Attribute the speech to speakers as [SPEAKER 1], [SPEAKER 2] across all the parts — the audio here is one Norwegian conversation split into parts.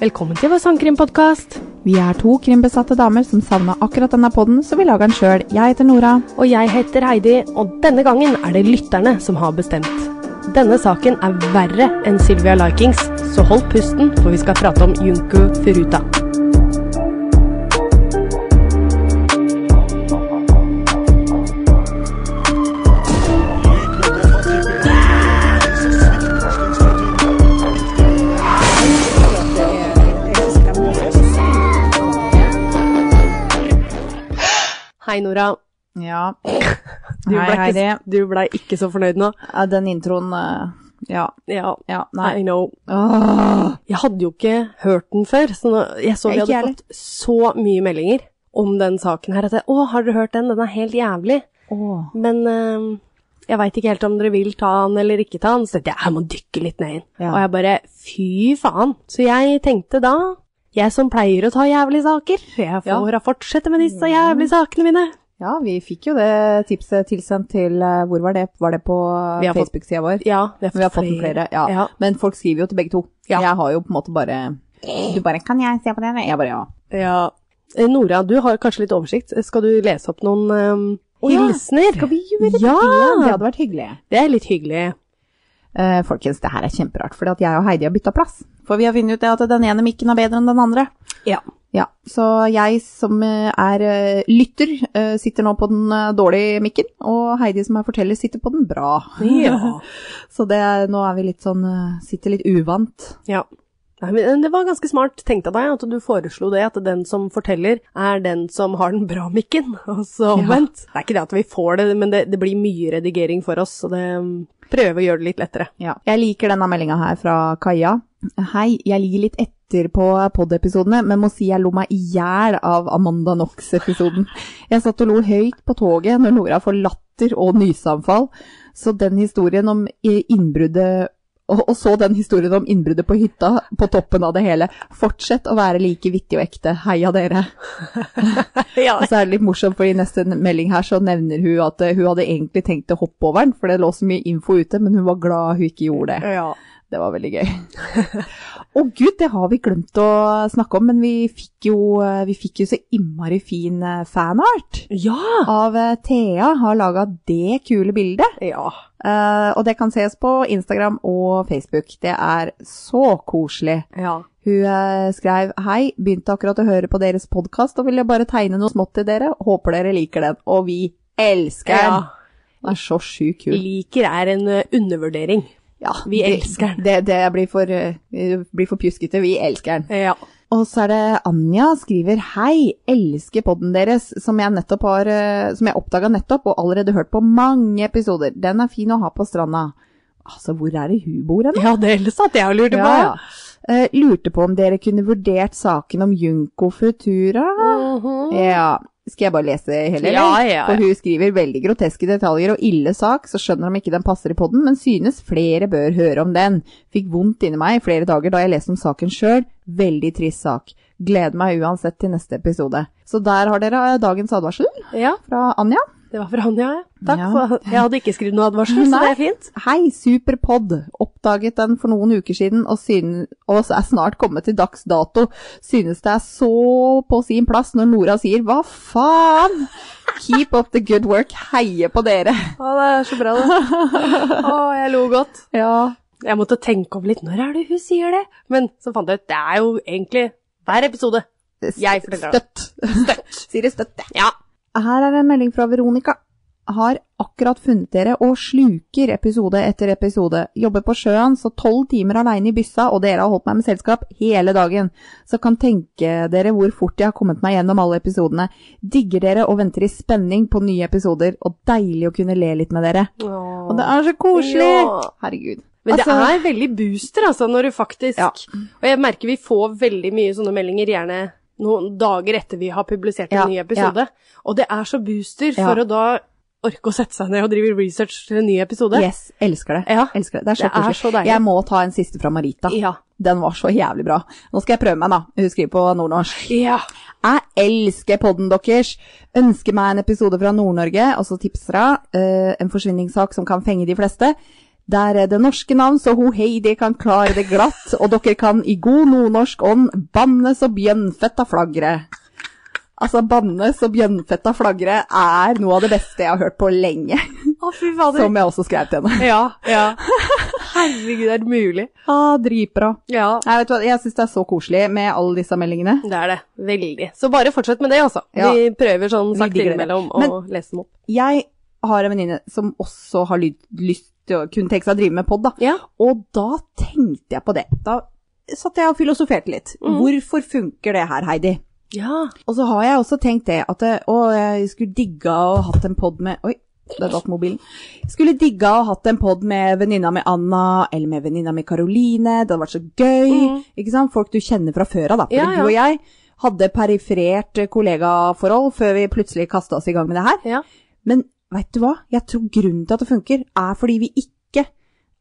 [SPEAKER 1] Velkommen til vår sangkrimpodkast.
[SPEAKER 2] Vi er to krimbesatte damer som savna akkurat denne podden, så vi lager den sjøl. Jeg heter Nora.
[SPEAKER 1] Og jeg heter Heidi, og denne gangen er det lytterne som har bestemt. Denne saken er verre enn Sylvia Likings, så hold pusten, for vi skal prate om Junku Furuta. Hei, Nora.
[SPEAKER 2] Ja.
[SPEAKER 1] Du
[SPEAKER 2] Hei,
[SPEAKER 1] ble
[SPEAKER 2] Heidi.
[SPEAKER 1] ikke, du ble ikke så fornøyd nå.
[SPEAKER 2] Ja, Den introen eh, Ja.
[SPEAKER 1] Ja,
[SPEAKER 2] Ja, nei.
[SPEAKER 1] I know.
[SPEAKER 2] Åh.
[SPEAKER 1] Jeg hadde jo ikke hørt den før, så nå- jeg så vi
[SPEAKER 2] Ikke
[SPEAKER 1] hadde
[SPEAKER 2] jeg heller.
[SPEAKER 1] fått så mye meldinger om den saken her. At jeg, 'Å, har dere hørt den? Den er helt jævlig.'
[SPEAKER 2] Åh.
[SPEAKER 1] Men eh, jeg veit ikke helt om dere vil ta den eller ikke ta den. Så tenkte jeg jeg må dykke litt ned inn.
[SPEAKER 2] Ja.
[SPEAKER 1] Og jeg bare fy faen. Så jeg tenkte da jeg som pleier å ta jævlige saker, jeg får fortsette med disse jævlige sakene mine.
[SPEAKER 2] Ja, vi fikk jo det tipset tilsendt til eh, Hvor var det? Var det på
[SPEAKER 1] Vi har fått-
[SPEAKER 2] Facebook-sida vår?
[SPEAKER 1] Ja, vi
[SPEAKER 2] Vi har fått den flere. Ja.
[SPEAKER 1] Ja.
[SPEAKER 2] Men folk skriver jo til begge to.
[SPEAKER 1] Ja.
[SPEAKER 2] Jeg har jo på en måte bare Du bare Kan jeg se på den? Jeg bare ja.
[SPEAKER 1] ja. Eh, Nora, du har kanskje litt oversikt. Skal du lese opp noen eh,
[SPEAKER 2] Å ja,
[SPEAKER 1] hilsener?
[SPEAKER 2] Skal vi gjøre det?
[SPEAKER 1] Ja!
[SPEAKER 2] Det hadde vært hyggelig.
[SPEAKER 1] Det er litt hyggelig.
[SPEAKER 2] Eh, folkens, det her er kjemperart, for jeg og Heidi har bytta plass. For vi har funnet ut det at den ene mikken er bedre enn den andre.
[SPEAKER 1] Ja.
[SPEAKER 2] Ja, Så jeg som eh, er eh, lytter, eh, sitter nå på den eh, dårlige mikken, og Heidi som er forteller, sitter på den bra.
[SPEAKER 1] Ja.
[SPEAKER 2] Så det, er- nå er vi litt sånn eh, Sitter litt uvant.
[SPEAKER 1] Ja. Nei, men eh, det var ganske smart tenkt av deg at du foreslo det, at den som forteller, er den som har den bra mikken. Og så omvendt. Det er ikke det at vi får det, men det, det blir mye redigering for oss, så det prøver å gjøre det litt lettere.
[SPEAKER 2] Ja. Jeg liker denne meldinga her fra Kaja. Hei, jeg ligger litt etter på pod-episodene, men må si jeg lo meg i hjel av Amanda Knox-episoden. Jeg satt og lo høyt på toget når Nora får latter og nyseanfall, så den historien om i- innbruddet og og så den historien om innbruddet på hytta på toppen av det hele. Fortsett å være like vittig og ekte. Heia dere.
[SPEAKER 1] Ja.
[SPEAKER 2] Og så er det litt morsomt, for i neste melding her så nevner hun at eh, hun hadde egentlig tenkt å hoppe over den, for det lå så mye info ute, men hun var glad hun ikke gjorde det.
[SPEAKER 1] ja.
[SPEAKER 2] Det var veldig gøy. Å gud, det har vi glemt å snakke om, men vi fikk jo, vi fikk jo så innmari fin eh, fanart
[SPEAKER 1] Ja!
[SPEAKER 2] av eh, Thea. Har laga det kule bildet.
[SPEAKER 1] Ja.
[SPEAKER 2] Eh, og det kan ses på Instagram og Facebook. Det er så koselig.
[SPEAKER 1] Ja.
[SPEAKER 2] Hun eh, skrev hei, begynte akkurat å høre på deres podkast og ville bare tegne noe smått til dere. Håper dere liker den. Og vi elsker
[SPEAKER 1] ja.
[SPEAKER 2] den! Den er så sjukt kul.
[SPEAKER 1] Liker er en eh, undervurdering.
[SPEAKER 2] Ja,
[SPEAKER 1] Vi
[SPEAKER 2] det-
[SPEAKER 1] elsker den.
[SPEAKER 2] Det, det blir for, eh, blir for pjuskete. Vi elsker den.
[SPEAKER 1] Ja.
[SPEAKER 2] Og så er det Anja skriver Hei, elsker podden deres, som jeg nettopp har eh, Som jeg oppdaga nettopp og allerede hørt på mange episoder. Den er fin å ha på stranda. Altså, hvor er det hun bor hen?
[SPEAKER 1] Ja, det hele satt jeg og lurte på.
[SPEAKER 2] Ja, ja. Eh, lurte på om dere kunne vurdert saken om Junko Futura?
[SPEAKER 1] Mhm.
[SPEAKER 2] Ja. Skal jeg bare lese hele, eller?
[SPEAKER 1] Ja, ja, ja.
[SPEAKER 2] For hun skriver veldig groteske detaljer og ille sak, så skjønner de ikke den passer i podden, men synes flere bør høre om den. Fikk vondt inni meg i flere dager da jeg leste om saken sjøl. Veldig trist sak. Gleder meg uansett til neste episode. Så der har dere eh, dagens advarsel
[SPEAKER 1] ja.
[SPEAKER 2] fra Anja.
[SPEAKER 1] Det var fra Anja, ja. Takk
[SPEAKER 2] Ja.
[SPEAKER 1] for Jeg hadde ikke skrevet noe advarsel, så det
[SPEAKER 2] Nei.
[SPEAKER 1] er fint.
[SPEAKER 2] Hei, superpod! Oppdaget den for noen uker siden og, syn og er snart kommet til dags dato. Synes det er så på sin plass når Nora sier 'hva faen'? Keep up the good work, heie på dere!
[SPEAKER 1] Å, det er så bra, det. Å, jeg lo godt.
[SPEAKER 2] Ja,
[SPEAKER 1] Jeg måtte tenke om litt, når er det hun sier det? Men så fant jeg ut, det er jo egentlig hver episode. Jeg forteller det.
[SPEAKER 2] støtt. Støtt. sier det støtt, jeg.
[SPEAKER 1] Ja.
[SPEAKER 2] Her er en melding fra Veronica. Har akkurat funnet dere og sluker episode etter episode. Jobber på sjøen, så tolv timer aleine i byssa, og dere har holdt meg med selskap hele dagen. Så kan tenke dere hvor fort jeg har kommet meg gjennom alle episodene. Digger dere og venter i spenning på nye episoder, og deilig å kunne le litt med dere. Og det er så koselig!
[SPEAKER 1] Ja.
[SPEAKER 2] Herregud.
[SPEAKER 1] Men
[SPEAKER 2] Altså-
[SPEAKER 1] det er veldig booster, altså, når du faktisk
[SPEAKER 2] Ja.
[SPEAKER 1] Og jeg merker vi får veldig mye sånne meldinger, gjerne noen dager etter vi har publisert en
[SPEAKER 2] Ja,
[SPEAKER 1] ny episode. Og det er så booster
[SPEAKER 2] Ja.
[SPEAKER 1] for å da orke å sette seg ned og drive research til en ny episode.
[SPEAKER 2] Yes, elsker det.
[SPEAKER 1] Ja.
[SPEAKER 2] Elsker det. Det er så
[SPEAKER 1] Det er
[SPEAKER 2] koselig.
[SPEAKER 1] så deilig.
[SPEAKER 2] jeg må ta en siste fra Marita.
[SPEAKER 1] Ja.
[SPEAKER 2] Den var så jævlig bra. Nå skal jeg prøve meg, da. Hun skriver på nordnorsk.
[SPEAKER 1] Ja.
[SPEAKER 2] Jeg elsker podden deres! Ønsker altså meg en episode fra Nord-Norge, og så tipser hun eh, en forsvinningssak som kan fenge de fleste. Der er det norske navn, så ho Heidi kan klare det glatt, og dere kan i god nordnorsk ånd banne så bjønnfetta flagre. Altså, banne så bjønnfetta flagre er noe av det beste jeg har hørt på lenge,
[SPEAKER 1] Å, fy fader.
[SPEAKER 2] som jeg også skrev til henne.
[SPEAKER 1] Ja, ja. Herregud, er det mulig?
[SPEAKER 2] Ah, dritbra.
[SPEAKER 1] Ja.
[SPEAKER 2] Nei, vet du hva, jeg syns det er så koselig med alle disse meldingene.
[SPEAKER 1] Det er det. Veldig. Så bare fortsett med det, altså.
[SPEAKER 2] Ja.
[SPEAKER 1] Vi prøver sånn
[SPEAKER 2] Vi
[SPEAKER 1] sakte
[SPEAKER 2] digger det.
[SPEAKER 1] innimellom å
[SPEAKER 2] Men-
[SPEAKER 1] lese dem opp.
[SPEAKER 2] Jeg har en venninne som også har lyd, lyst til å kunne tenke seg å drive med pod, da.
[SPEAKER 1] Ja.
[SPEAKER 2] Og da tenkte jeg på det. Da satt jeg og filosoferte litt.
[SPEAKER 1] Mhm.
[SPEAKER 2] Hvorfor funker det her, Heidi?
[SPEAKER 1] Ja.
[SPEAKER 2] Og så har jeg også tenkt det, at eh, å, jeg skulle digga å hatt en pod med Oi, der datt mobilen. Skulle digga å hatt en pod med venninna mi Anna, eller med venninna mi Karoline. Det hadde vært så gøy.
[SPEAKER 1] Mhm.
[SPEAKER 2] Ikke sant? Folk du kjenner fra før av, da. For
[SPEAKER 1] Ja, ja.
[SPEAKER 2] du og jeg hadde periferert eh, kollegaforhold før vi plutselig kasta oss i gang med det her.
[SPEAKER 1] Ja.
[SPEAKER 2] Men veit du hva? Jeg tror grunnen til at det funker, er fordi vi ikke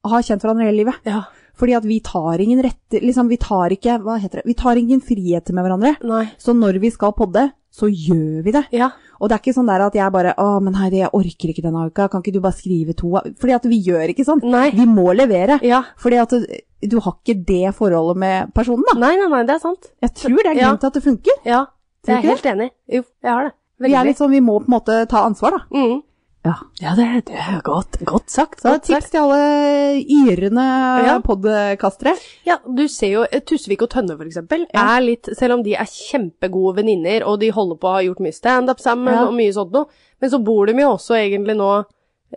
[SPEAKER 2] har kjent hverandre hele livet.
[SPEAKER 1] ja.
[SPEAKER 2] Fordi at vi tar ingen rette, liksom vi tar ikke, hva heter det, vi tar ingen friheter med hverandre.
[SPEAKER 1] Nei.
[SPEAKER 2] Så når vi skal podde, så gjør vi det.
[SPEAKER 1] Ja.
[SPEAKER 2] Og det er ikke sånn der at jeg bare, å, men Heidi, jeg orker ikke denne uka, kan ikke du bare skrive to? av-» Fordi at vi gjør ikke sånn.
[SPEAKER 1] Nei.
[SPEAKER 2] Vi må levere.
[SPEAKER 1] Ja.
[SPEAKER 2] Fordi at du, du har ikke det forholdet med personen da.
[SPEAKER 1] Nei, nei, nei, det er sant.
[SPEAKER 2] Jeg tror det er
[SPEAKER 1] Ja.
[SPEAKER 2] grunnen til at det funker.
[SPEAKER 1] Ja.
[SPEAKER 2] Tror
[SPEAKER 1] Jeg
[SPEAKER 2] du
[SPEAKER 1] er helt enig. Jo, jeg har det.
[SPEAKER 2] Vi er litt sånn, vi må på en måte ta ansvar da.
[SPEAKER 1] mm.
[SPEAKER 2] Ja.
[SPEAKER 1] det, det er godt, godt sagt.
[SPEAKER 2] Så
[SPEAKER 1] godt sagt.
[SPEAKER 2] tips til alle yrende
[SPEAKER 1] Ja.
[SPEAKER 2] podcastere.
[SPEAKER 1] Ja, du ser jo eh, Tusvik og Tønne for eksempel,
[SPEAKER 2] Ja.
[SPEAKER 1] er litt, selv om de er kjempegode venninner, og de holder på å ha gjort mye stand-up sammen
[SPEAKER 2] Ja.
[SPEAKER 1] og mye sånt noe, men så bor de jo også egentlig nå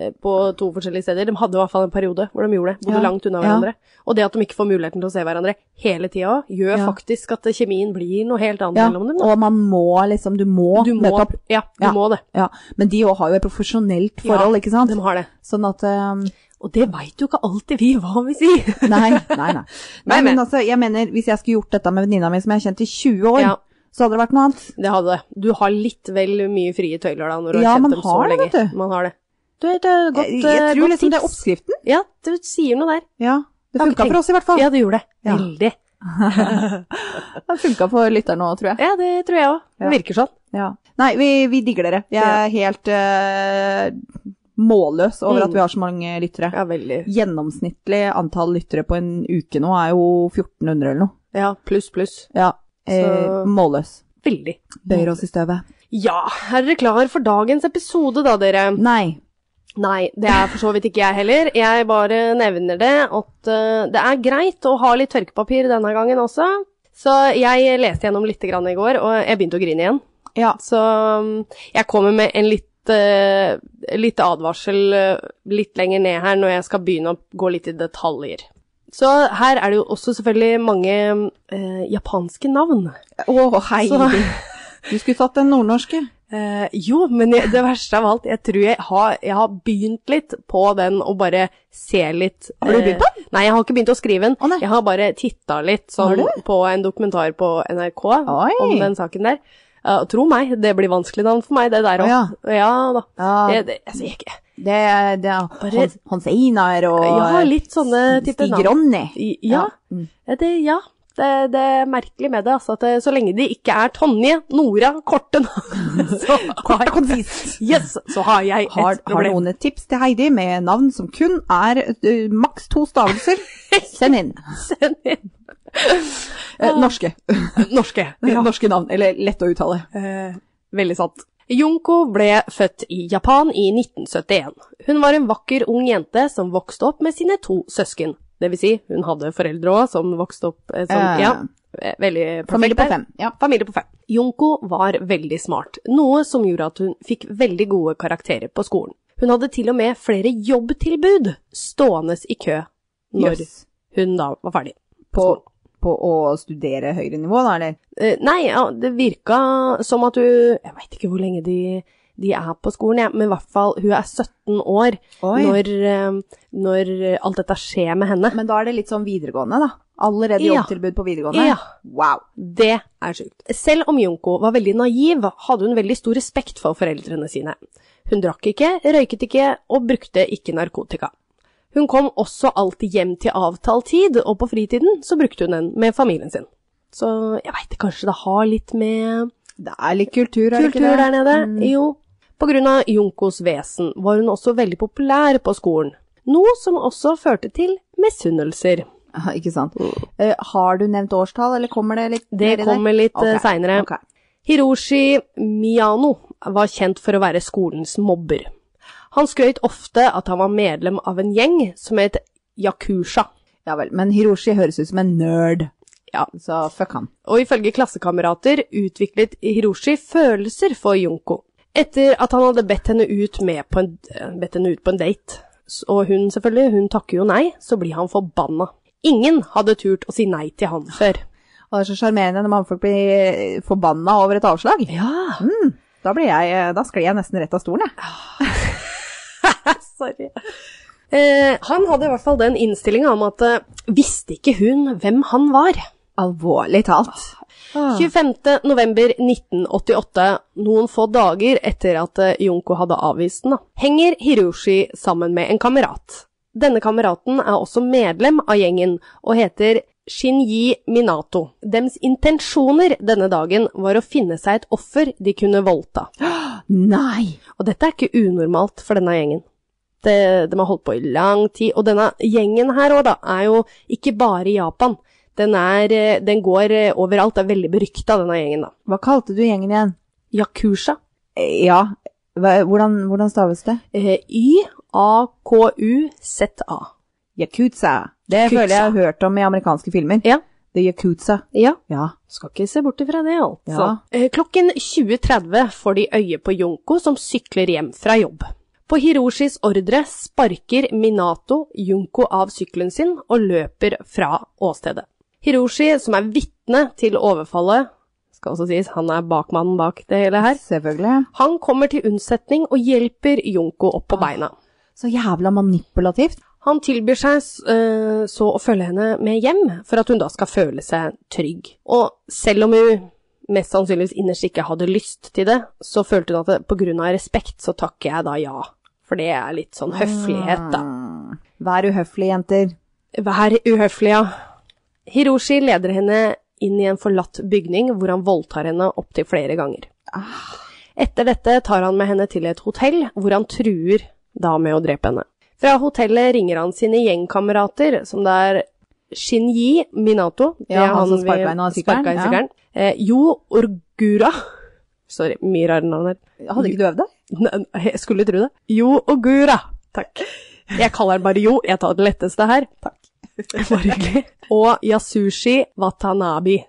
[SPEAKER 1] eh, på to forskjellige steder. De hadde i hvert fall en periode hvor de gjorde det, bodde
[SPEAKER 2] Ja.
[SPEAKER 1] langt unna
[SPEAKER 2] Ja.
[SPEAKER 1] hverandre. Og det at de ikke får muligheten til å se hverandre hele tida òg, gjør
[SPEAKER 2] Ja.
[SPEAKER 1] faktisk at kjemien blir noe helt annet
[SPEAKER 2] Ja,
[SPEAKER 1] mellom dem. Da.
[SPEAKER 2] og man må liksom, du må,
[SPEAKER 1] Du må,
[SPEAKER 2] møte opp.
[SPEAKER 1] ja, du
[SPEAKER 2] Ja.
[SPEAKER 1] må det.
[SPEAKER 2] Ja, men de også har jo et profesjonelt
[SPEAKER 1] Ja,
[SPEAKER 2] forhold, ikke sant?
[SPEAKER 1] De har det.
[SPEAKER 2] Sånn at um,
[SPEAKER 1] Og det veit jo ikke alltid vi hva vi sier.
[SPEAKER 2] Nei, nei, nei. nei,
[SPEAKER 1] Nei,
[SPEAKER 2] men
[SPEAKER 1] men-
[SPEAKER 2] altså, jeg mener, hvis jeg skulle gjort dette med venninna mi som jeg har kjent i 20 år,
[SPEAKER 1] Ja.
[SPEAKER 2] så hadde det vært noe annet.
[SPEAKER 1] Det hadde det. Du har litt vel mye frie tøyler da, når du
[SPEAKER 2] Ja,
[SPEAKER 1] har
[SPEAKER 2] man
[SPEAKER 1] kjent dem så
[SPEAKER 2] har det,
[SPEAKER 1] lenge.
[SPEAKER 2] vet du.
[SPEAKER 1] Man har det. Du, det er godt,
[SPEAKER 2] jeg,
[SPEAKER 1] eh,
[SPEAKER 2] jeg tror
[SPEAKER 1] godt
[SPEAKER 2] liksom det er
[SPEAKER 1] tips.
[SPEAKER 2] oppskriften.
[SPEAKER 1] Ja, du sier noe der.
[SPEAKER 2] Ja. Det
[SPEAKER 1] Jeg har ikke
[SPEAKER 2] funka for oss i hvert fall.
[SPEAKER 1] Ja, det gjorde det.
[SPEAKER 2] Ja.
[SPEAKER 1] Veldig.
[SPEAKER 2] Det funka for lytteren òg, tror jeg.
[SPEAKER 1] Ja, det tror jeg òg. Det
[SPEAKER 2] Ja.
[SPEAKER 1] virker sånn.
[SPEAKER 2] Ja. Nei, vi, vi digger dere. Jeg er helt eh, målløs over
[SPEAKER 1] Mm.
[SPEAKER 2] at vi har så mange lyttere.
[SPEAKER 1] Ja, veldig.
[SPEAKER 2] Gjennomsnittlig antall lyttere på en uke nå er jo 1400 eller noe.
[SPEAKER 1] Ja, pluss, pluss.
[SPEAKER 2] Ja. Eh,
[SPEAKER 1] Så-
[SPEAKER 2] målløs.
[SPEAKER 1] Veldig.
[SPEAKER 2] Bøyer oss i støvet.
[SPEAKER 1] Ja, er dere klar for dagens episode da, dere?
[SPEAKER 2] Nei.
[SPEAKER 1] Nei, det er for så vidt ikke jeg heller. Jeg bare nevner det at eh, det er greit å ha litt tørkepapir denne gangen også. Så jeg leste gjennom litt grann i går, og jeg begynte å grine igjen.
[SPEAKER 2] Ja.
[SPEAKER 1] Så um, jeg kommer med en litt, eh, litt advarsel eh, litt lenger ned her når jeg skal begynne å gå litt i detaljer. Så her er det jo også selvfølgelig mange eh, japanske navn.
[SPEAKER 2] Å, Heidi. Du skulle tatt den nordnorske.
[SPEAKER 1] Eh, jo, men jeg, det verste av alt, jeg tror jeg har, jeg har begynt litt på den og bare se litt.
[SPEAKER 2] Har du begynt på
[SPEAKER 1] den? Nei, jeg har ikke begynt å skrive den.
[SPEAKER 2] Å, nei.
[SPEAKER 1] jeg har bare titta litt sånn,
[SPEAKER 2] Har du?
[SPEAKER 1] på en dokumentar på NRK
[SPEAKER 2] Oi.
[SPEAKER 1] om den saken der. Eh, tro meg, det blir vanskelig navn for meg, det der
[SPEAKER 2] Å,
[SPEAKER 1] òg. Ja. da.
[SPEAKER 2] Ja,
[SPEAKER 1] Jeg, det, altså, jeg,
[SPEAKER 2] det er
[SPEAKER 1] Bare-
[SPEAKER 2] Hans Einar og
[SPEAKER 1] ja, litt sånne type
[SPEAKER 2] Stig
[SPEAKER 1] navn.
[SPEAKER 2] Ronny.
[SPEAKER 1] I- Ja.
[SPEAKER 2] Mm.
[SPEAKER 1] ja, det, ja. Det, det er merkelig med det, altså. At det, så lenge de ikke er Tonje, Nora, korte navn, så
[SPEAKER 2] Kort og
[SPEAKER 1] har,
[SPEAKER 2] konsist.
[SPEAKER 1] yes, så har jeg et
[SPEAKER 2] Har, har
[SPEAKER 1] problem.
[SPEAKER 2] noen et tips til Heidi med navn som kun er ø, maks to stavelser? Send inn.
[SPEAKER 1] Send inn
[SPEAKER 2] Eh, norske.
[SPEAKER 1] norske.
[SPEAKER 2] Norske navn, eller lett å uttale.
[SPEAKER 1] Eh, veldig sant. Junko ble født i Japan i 1971. Hun var en vakker ung jente som vokste opp med sine to søsken. Det vil si, hun hadde foreldre òg som vokste opp eh, som,
[SPEAKER 2] Eh,
[SPEAKER 1] Ja, eh, veldig perfekt
[SPEAKER 2] Familie
[SPEAKER 1] der.
[SPEAKER 2] på fem. Ja.
[SPEAKER 1] Familie på fem. Junko var veldig smart, noe som gjorde at hun fikk veldig gode karakterer på skolen. Hun hadde til og med flere jobbtilbud stående i kø når
[SPEAKER 2] Jøss.
[SPEAKER 1] hun da var ferdig.
[SPEAKER 2] På, på å studere høyere nivå, da, eller?
[SPEAKER 1] Eh, nei, ja, det virka som at hun Jeg veit ikke hvor lenge de, de er på skolen, jeg, men i hvert fall hun er 17 år når, eh, når alt dette skjer med henne.
[SPEAKER 2] Men da er det litt sånn videregående, da. Allerede
[SPEAKER 1] Ja.
[SPEAKER 2] jobbtilbud på videregående.
[SPEAKER 1] Ja.
[SPEAKER 2] Wow.
[SPEAKER 1] Det er sjukt. Selv om Junko var veldig naiv, hadde hun veldig stor respekt for foreldrene sine. Hun drakk ikke, røyket ikke og brukte ikke narkotika. Hun kom også alltid hjem til avtalt tid, og på fritiden så brukte hun den med familien sin. Så jeg veit kanskje det har litt med
[SPEAKER 2] Det er litt kultur, er det
[SPEAKER 1] kultur
[SPEAKER 2] ikke det?
[SPEAKER 1] der nede.
[SPEAKER 2] Mm.
[SPEAKER 1] Jo. På grunn av Junkos vesen var hun også veldig populær på skolen. Noe som også førte til misunnelser.
[SPEAKER 2] Ja, Ikke sant. Eh, har du nevnt årstall, eller kommer det litt
[SPEAKER 1] Det
[SPEAKER 2] nedi der?
[SPEAKER 1] kommer litt eh,
[SPEAKER 2] Ok,
[SPEAKER 1] okay. seinere.
[SPEAKER 2] ok.
[SPEAKER 1] Hiroshi Miyano var kjent for å være skolens mobber. Han skrøt ofte at han var medlem av en gjeng som het Yakusha.
[SPEAKER 2] Ja vel. Men Hiroshi høres ut som en nerd.
[SPEAKER 1] Ja.
[SPEAKER 2] Så fuck han.
[SPEAKER 1] og ifølge klassekamerater utviklet Hiroshi følelser for Junko. Etter at han hadde bedt henne ut, med på, en, eh, bedt henne ut på en date, S- og hun selvfølgelig, hun takker jo nei, så blir han forbanna. Ingen hadde turt å si nei til han før.
[SPEAKER 2] Og det er så sjarmerende når mannfolk blir eh, forbanna over et avslag.
[SPEAKER 1] Ja,
[SPEAKER 2] Da blir jeg eh, Da skled jeg nesten rett av stolen, jeg.
[SPEAKER 1] sorry. Eh, han hadde i hvert fall den innstillinga om at eh, visste ikke hun hvem han var?
[SPEAKER 2] Alvorlig talt. Ah.
[SPEAKER 1] Ah. 25. november 1988, noen få dager etter at eh, Junko hadde avvist den, da, henger Hiroshi sammen med en kamerat. Denne kameraten er også medlem av gjengen og heter Shinji Minato. Dems intensjoner denne dagen var å finne seg et offer de kunne voldta.
[SPEAKER 2] Nei!
[SPEAKER 1] Og dette er ikke unormalt for denne gjengen. Det, de har holdt på i lang tid, og denne gjengen her òg, da, er jo ikke bare i Japan. Den, er, eh, den går eh, overalt, er veldig berykta, denne gjengen, da.
[SPEAKER 2] Hva kalte du gjengen igjen?
[SPEAKER 1] Yakusha.
[SPEAKER 2] Eh, Ja, hva- hvordan, hvordan staves det?
[SPEAKER 1] Eh, Y-A-K-U-Z-A.
[SPEAKER 2] Yakuza. Det
[SPEAKER 1] Yakuza.
[SPEAKER 2] føler jeg har hørt om i amerikanske filmer.
[SPEAKER 1] Ja.
[SPEAKER 2] The Yakuza.
[SPEAKER 1] Ja,
[SPEAKER 2] Ja.
[SPEAKER 1] skal ikke se bort ifra det, altså.
[SPEAKER 2] Ja.
[SPEAKER 1] Eh, Klokken 20.30 får de øye på Junko som sykler hjem fra jobb. På Hiroshis ordre sparker Minato Junko av sykkelen sin og løper fra åstedet. Hiroshi, som er vitne til overfallet, skal også sies, han er bakmannen bak det hele her,
[SPEAKER 2] Selvfølgelig.
[SPEAKER 1] han kommer til unnsetning og hjelper Junko opp på beina.
[SPEAKER 2] Så jævla manipulativt.
[SPEAKER 1] Han tilbyr seg eh, så å følge henne med hjem, for at hun da skal føle seg trygg. Og selv om hun mest sannsynligvis innerst ikke hadde lyst til det, så følte hun at det, på grunn av respekt så takker jeg da ja. For det er litt sånn høflighet, da.
[SPEAKER 2] Mm. Vær uhøflige, jenter.
[SPEAKER 1] Vær uhøflig, ja. Hiroshi leder henne inn i en forlatt bygning, hvor han voldtar henne opptil flere ganger. Etter dette tar han med henne til et hotell, hvor han truer da med å drepe henne. Fra hotellet ringer han sine gjengkamerater, som det er Shinji Minato det
[SPEAKER 2] Ja,
[SPEAKER 1] er
[SPEAKER 2] han som
[SPEAKER 1] vi
[SPEAKER 2] sparka henne av sykkelen,
[SPEAKER 1] sparka i
[SPEAKER 2] ja.
[SPEAKER 1] sykkelen. Eh, Jo Orgura Sorry, mye rare navn her.
[SPEAKER 2] Hadde ikke du øvd deg?
[SPEAKER 1] Ne- Jeg skulle tro det. Jo Ogura. Takk. Jeg kaller den bare Jo, jeg tar det letteste her. Takk. Bare hyggelig. Og Yasushi Watanabe.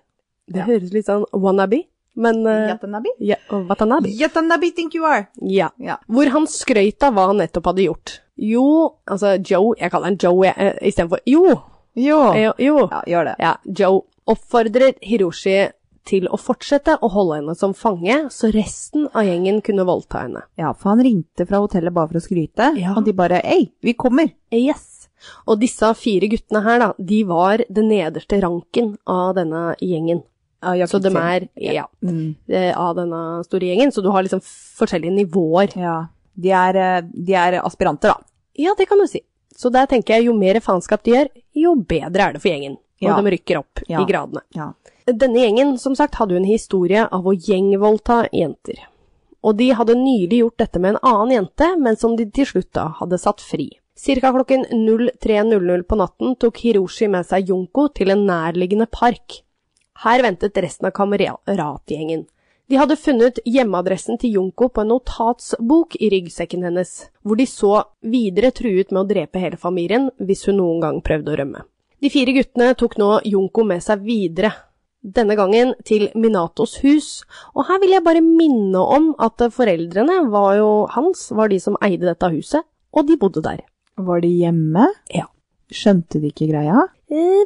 [SPEAKER 1] Det
[SPEAKER 2] Ja.
[SPEAKER 1] høres litt sånn wannabe, men eh,
[SPEAKER 2] Yatanabi?
[SPEAKER 1] ja, og Watanabe.
[SPEAKER 2] Yatanabi think you are.
[SPEAKER 1] Ja.
[SPEAKER 2] Ja.
[SPEAKER 1] Hvor han skrøt av hva han nettopp hadde gjort. Jo, altså Joe, jeg kaller han Joe jeg, eh, istedenfor Jo.
[SPEAKER 2] Jo.
[SPEAKER 1] eh, Jo.
[SPEAKER 2] Ja, gjør det.
[SPEAKER 1] Ja, Joe oppfordrer Hiroshi til å fortsette å holde henne som fange, så resten av gjengen kunne voldta henne.
[SPEAKER 2] Ja, for han ringte fra hotellet bare for å skryte,
[SPEAKER 1] Ja.
[SPEAKER 2] og de bare Ei, vi kommer!
[SPEAKER 1] Yes. Og disse fire guttene her, da, de var den nederste ranken av denne gjengen. Så de er ja,
[SPEAKER 2] Mm.
[SPEAKER 1] eh, av denne store gjengen, så du har liksom forskjellige nivåer.
[SPEAKER 2] Ja. De er, eh, de er aspiranter, da.
[SPEAKER 1] Ja, det kan du si. Så der tenker jeg jo mer faenskap de gjør, jo bedre er det for gjengen. Og
[SPEAKER 2] Ja.
[SPEAKER 1] de rykker opp
[SPEAKER 2] Ja.
[SPEAKER 1] i gradene.
[SPEAKER 2] Ja.
[SPEAKER 1] Denne gjengen, som sagt, hadde jo en historie av å gjengvoldta jenter. Og de hadde nylig gjort dette med en annen jente, men som de til slutt da hadde satt fri. Cirka klokken 03.00 på natten tok Hiroshi med seg Junko til en nærliggende park. Her ventet resten av kameratgjengen. De hadde funnet hjemmeadressen til Junko på en notatsbok i ryggsekken hennes, hvor de så videre truet med å drepe hele familien hvis hun noen gang prøvde å rømme. De fire guttene tok nå Junko med seg videre, denne gangen til Minatos hus, og her vil jeg bare minne om at foreldrene var jo hans, var de som eide dette huset, og de bodde der.
[SPEAKER 2] Var de hjemme?
[SPEAKER 1] Ja.
[SPEAKER 2] Skjønte de ikke greia?
[SPEAKER 1] Eh,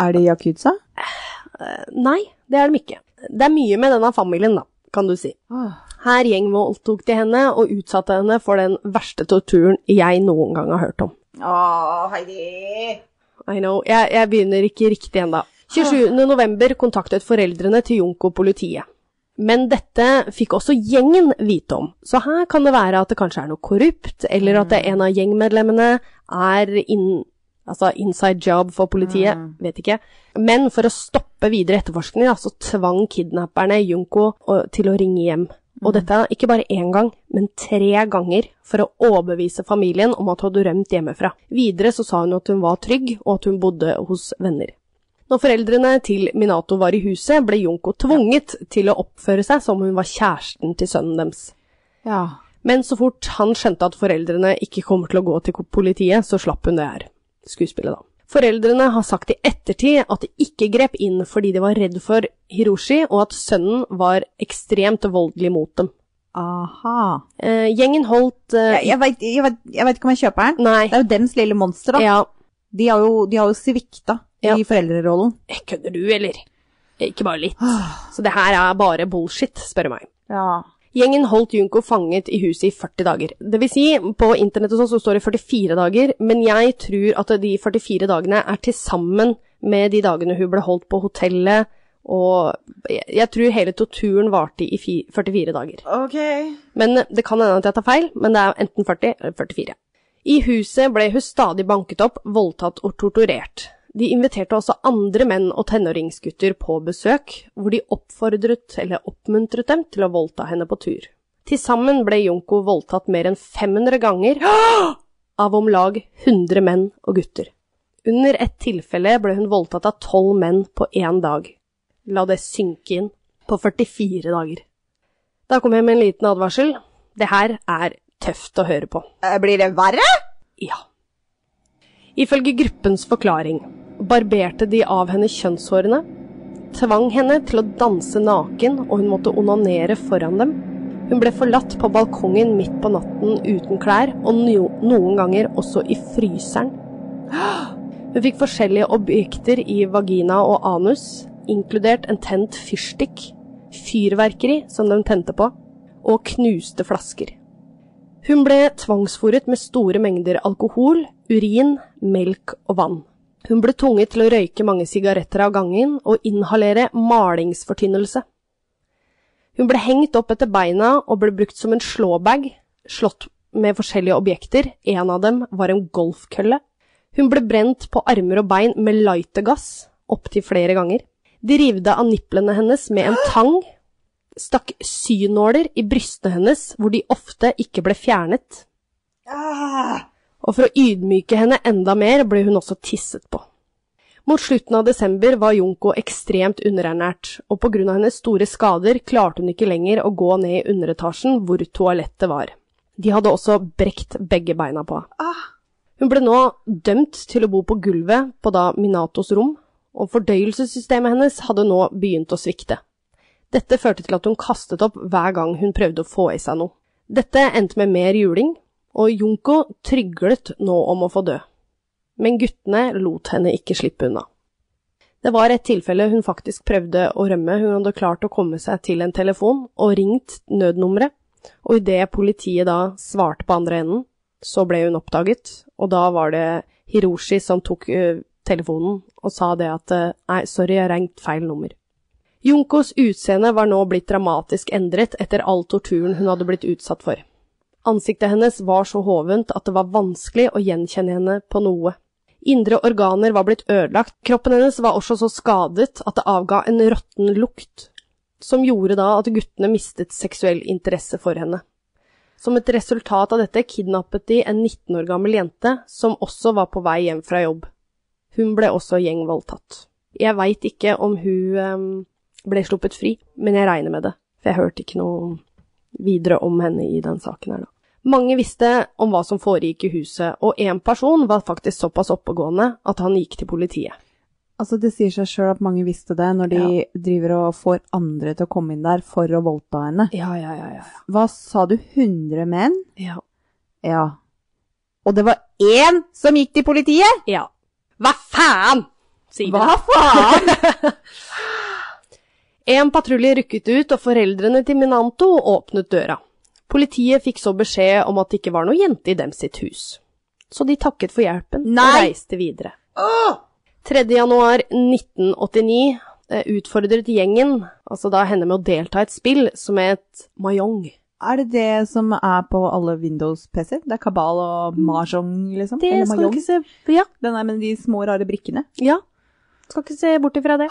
[SPEAKER 2] Er de yakuza?
[SPEAKER 1] nei, det er de ikke. Det er mye med denne familien, da, kan du si.
[SPEAKER 2] Ah.
[SPEAKER 1] Her gjengvoldtok de henne og utsatte henne for den verste torturen jeg noen gang har hørt om.
[SPEAKER 2] Åh, Heidi!
[SPEAKER 1] I know, jeg, jeg begynner ikke riktig ennå. 27. november kontaktet foreldrene til Junko politiet. Men dette fikk også gjengen vite om, så her kan det være at det kanskje er noe korrupt, eller at det en av gjengmedlemmene er inn, altså inside job for politiet, vet ikke. Men for å stoppe videre etterforskning, da, så tvang kidnapperne Junko å- til å ringe hjem Og dette er ikke bare én gang, men tre ganger for å overbevise familien om at hun hadde rømt hjemmefra. Videre så sa hun at hun var trygg, og at hun bodde hos venner. Når foreldrene til Minato var i huset, ble Junko tvunget til å oppføre seg som hun var kjæresten til sønnen deres.
[SPEAKER 2] Ja.
[SPEAKER 1] Men så fort han skjønte at foreldrene ikke kommer til å gå til politiet, så slapp hun det her. Skuespillet, da. Foreldrene har sagt i ettertid at de ikke grep inn fordi de var redd for Hiroshi, og at sønnen var ekstremt voldelig mot dem.
[SPEAKER 2] Aha.
[SPEAKER 1] Eh, gjengen holdt eh,
[SPEAKER 2] Jeg, jeg, vet, jeg, vet, jeg vet ikke om jeg kjøper den.
[SPEAKER 1] Nei.
[SPEAKER 2] Det er jo dems lille monster, da.
[SPEAKER 1] Ja,
[SPEAKER 2] De har jo, de har jo svikta
[SPEAKER 1] Ja.
[SPEAKER 2] i foreldrerollen.
[SPEAKER 1] kødder du, eller? Ikke bare litt.
[SPEAKER 2] Ah.
[SPEAKER 1] Så det her er bare bullshit, spør du meg.
[SPEAKER 2] Ja.
[SPEAKER 1] Gjengen holdt Junko fanget i huset i 40 dager. Det vil si, på internett og sånn så står det 44 dager, men jeg tror at de 44 dagene er til sammen med de dagene hun ble holdt på hotellet, og jeg, jeg tror hele torturen varte i fi, 44 dager.
[SPEAKER 2] Ok. Eh,
[SPEAKER 1] Men det kan hende at jeg tar feil, men det er enten 40 eller 44. I huset ble hun stadig banket opp, voldtatt og torturert. De inviterte også andre menn og tenåringsgutter på besøk, hvor de oppfordret eller oppmuntret dem til å voldta henne på tur. Til sammen ble Junko voldtatt mer enn 500 ganger av om lag 100 menn og gutter. Under ett tilfelle ble hun voldtatt av tolv menn på én dag. La det synke inn. På 44 dager. Da kom jeg med en liten advarsel. Det her er tøft å høre på.
[SPEAKER 2] Blir det verre?
[SPEAKER 1] Ja. Ifølge gruppens forklaring barberte de av henne kjønnshårene, tvang henne til å danse naken, og hun måtte onanere foran dem. Hun ble forlatt på balkongen midt på natten uten klær, og no noen ganger også i fryseren. Hun fikk forskjellige objekter i vagina og anus, inkludert en tent fyrstikk, fyrverkeri som de tente på, og knuste flasker. Hun ble tvangsfòret med store mengder alkohol, urin, melk og vann. Hun ble tvunget til å røyke mange sigaretter av gangen og inhalere malingsfortynnelse. Hun ble hengt opp etter beina og ble brukt som en slåbag, slått med forskjellige objekter, en av dem var en golfkølle. Hun ble brent på armer og bein med lightergass, opptil flere ganger. De rivde av niplene hennes med en tang stakk synåler i brystene hennes, hvor de ofte ikke ble fjernet, og for å ydmyke henne enda mer ble hun også tisset på. Mot slutten av desember var Junko ekstremt underernært, og på grunn av hennes store skader klarte hun ikke lenger å gå ned i underetasjen hvor toalettet var. De hadde også brekt begge beina på henne. Hun ble nå dømt til å bo på gulvet på da Minatos rom, og fordøyelsessystemet hennes hadde nå begynt å svikte. Dette førte til at hun kastet opp hver gang hun prøvde å få i seg noe. Dette endte med mer juling, og Junko tryglet nå om å få dø. Men guttene lot henne ikke slippe unna. Det var et tilfelle hun faktisk prøvde å rømme, hun hadde klart å komme seg til en telefon og ringt nødnummeret, og idet politiet da svarte på andre enden, så ble hun oppdaget, og da var det Hiroshi som tok ø, telefonen og sa det at ø, nei, sorry, jeg ringte feil nummer. Junkos utseende var nå blitt dramatisk endret etter all torturen hun hadde blitt utsatt for. Ansiktet hennes var så hovent at det var vanskelig å gjenkjenne henne på noe. Indre organer var blitt ødelagt, kroppen hennes var også så skadet at det avga en råtten lukt, som gjorde da at guttene mistet seksuell interesse for henne. Som et resultat av dette kidnappet de en 19 år gammel jente som også var på vei hjem fra jobb. Hun ble også gjengvoldtatt. Jeg veit ikke om hun ehm, ble sluppet fri, men jeg regner med det, for jeg hørte ikke noe videre om henne i den saken her da. Mange visste om hva som foregikk i huset, og én person var faktisk såpass oppegående at han gikk til politiet.
[SPEAKER 2] Altså, det sier seg sjøl at mange visste det når de driver og får andre til å komme inn der for å voldta henne.
[SPEAKER 1] Ja, ja, ja, ja.
[SPEAKER 2] Hva sa du, 100 menn?
[SPEAKER 1] Ja.
[SPEAKER 2] Ja. Og det var én som gikk til politiet?!
[SPEAKER 1] ja. Hva faen, sier de.
[SPEAKER 2] Hva faen?!
[SPEAKER 1] En patrulje rykket ut, og foreldrene til Minanto åpnet døra. Politiet fikk så beskjed om at det ikke var noe jente i dem sitt hus. Så de takket for hjelpen og
[SPEAKER 2] Nei!
[SPEAKER 1] reiste videre. Ah. 3. januar 1989 eh, utfordret gjengen, altså da henne med å delta i et spill som het Mayong.
[SPEAKER 2] Er det det som er på alle Windows-PC-er? Det er kabal og mahjong, liksom? Eller mahjong?
[SPEAKER 1] se Ja.
[SPEAKER 2] Den er med de små, rare brikkene.
[SPEAKER 1] ja. Skal ikke se bort ifra det.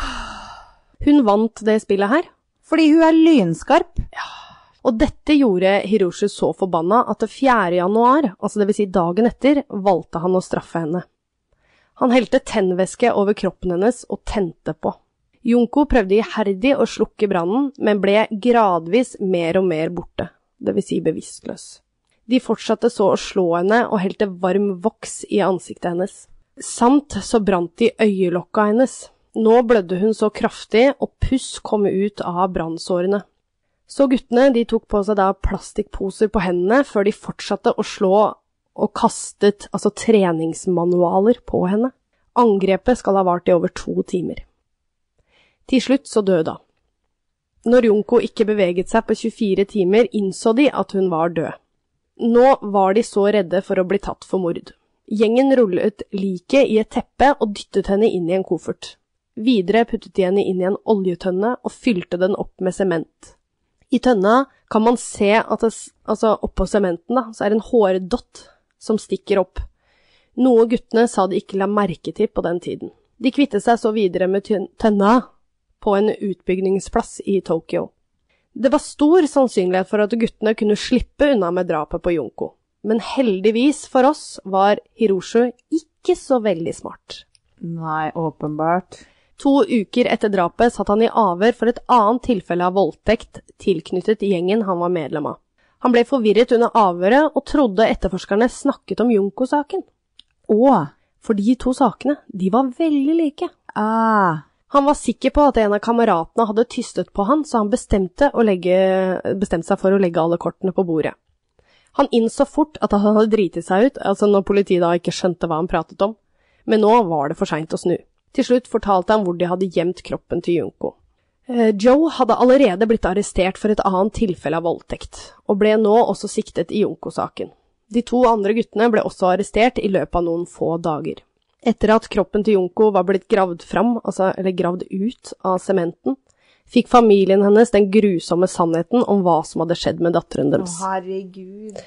[SPEAKER 1] Hun vant det spillet her,
[SPEAKER 2] Fordi hun er lynskarp.
[SPEAKER 1] Og dette gjorde Hiroshi så forbanna at det 4. januar, altså det vil si dagen etter, valgte han å straffe henne. Han helte tennvæske over kroppen hennes og tente på. Junko prøvde iherdig å slukke brannen, men ble gradvis mer og mer borte, det vil si bevisstløs. De fortsatte så å slå henne og helte varm voks i ansiktet hennes. Samt så brant de øyelokka hennes. Nå blødde hun så kraftig, og puss kom ut av brannsårene. Så guttene de tok på seg da plastikkposer på hendene før de fortsatte å slå og kastet altså treningsmanualer på henne. Angrepet skal ha vart i over to timer. Til slutt så døde han. Når Junko ikke beveget seg på 24 timer, innså de at hun var død. Nå var de så redde for å bli tatt for mord. Gjengen rullet liket i et teppe og dyttet henne inn i en koffert. Videre puttet de henne inn i en oljetønne og fylte den opp med sement. I tønna kan man se at det, altså oppå sementen da, så er det en hårdott som stikker opp, noe guttene sa de ikke la merke til på den tiden. De kvittet seg så videre med tøn- tønna på en utbygningsplass i Tokyo. Det var stor sannsynlighet for at guttene kunne slippe unna med drapet på Junko, men heldigvis for oss var Hiroshu ikke så veldig smart.
[SPEAKER 2] Nei, åpenbart.
[SPEAKER 1] To uker etter drapet satt han i avhør for et annet tilfelle av voldtekt tilknyttet gjengen han var medlem av. Han ble forvirret under avhøret og trodde etterforskerne snakket om Junko-saken.
[SPEAKER 2] Å!
[SPEAKER 1] For de to sakene, de var veldig like.
[SPEAKER 2] Ah.
[SPEAKER 1] Han var sikker på at en av kameratene hadde tystet på han, så han bestemte, å legge, bestemte seg for å legge alle kortene på bordet. Han innså fort at han hadde driti seg ut, altså når politiet da ikke skjønte hva han pratet om. Men nå var det for seint å snu. Til slutt fortalte han hvor de hadde gjemt kroppen til Junko. Eh, Joe hadde allerede blitt arrestert for et annet tilfelle av voldtekt, og ble nå også siktet i Junko-saken. De to andre guttene ble også arrestert i løpet av noen få dager. Etter at kroppen til Junko var blitt gravd fram, altså, eller gravd ut av sementen, fikk familien hennes den grusomme sannheten om hva som hadde skjedd med datteren
[SPEAKER 2] Å,
[SPEAKER 1] deres.
[SPEAKER 2] herregud.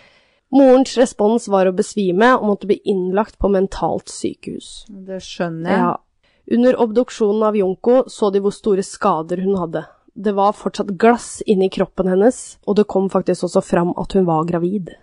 [SPEAKER 1] Morens respons var å besvime og måtte bli innlagt på mentalt sykehus.
[SPEAKER 2] Det skjønner jeg.
[SPEAKER 1] Under obduksjonen av Junko så de hvor store skader hun hadde. Det var fortsatt glass inni kroppen hennes, og det kom faktisk også fram at hun var gravid.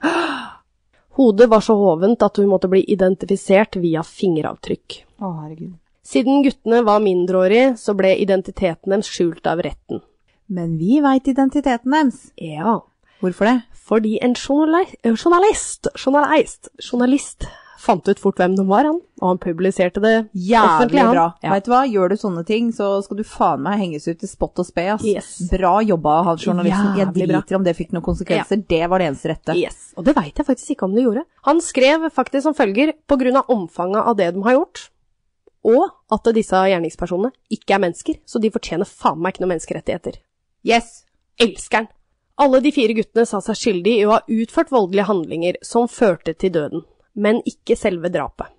[SPEAKER 1] Hodet var så hovent at hun måtte bli identifisert via fingeravtrykk.
[SPEAKER 2] Å, herregud.
[SPEAKER 1] Siden guttene var mindreårige, så ble identiteten deres skjult av retten.
[SPEAKER 2] Men vi veit identiteten deres.
[SPEAKER 1] Ja,
[SPEAKER 2] Hvorfor det?
[SPEAKER 1] fordi en journali- eh, journalist, journalist, journalist fant ut fort hvem de var, han, og han publiserte det offentlig.
[SPEAKER 2] Jævlig
[SPEAKER 1] han.
[SPEAKER 2] bra.
[SPEAKER 1] Ja.
[SPEAKER 2] Vet du hva, gjør du sånne ting, så skal du faen meg henges ut til spott og spe, ass.
[SPEAKER 1] Yes.
[SPEAKER 2] Bra jobba av han journalisten. Jeg
[SPEAKER 1] Jævlig bra.
[SPEAKER 2] driter om det fikk noen konsekvenser. Det var det eneste rette.
[SPEAKER 1] Yes, og det veit jeg faktisk ikke om de gjorde. Han skrev faktisk som følger, på grunn av omfanget av det de har gjort, og at disse gjerningspersonene ikke er mennesker, så de fortjener faen meg ikke noen menneskerettigheter.
[SPEAKER 2] Yes.
[SPEAKER 1] Elsker han! Alle de fire guttene sa seg skyldig i å ha utført voldelige handlinger som førte til døden, men ikke selve drapet.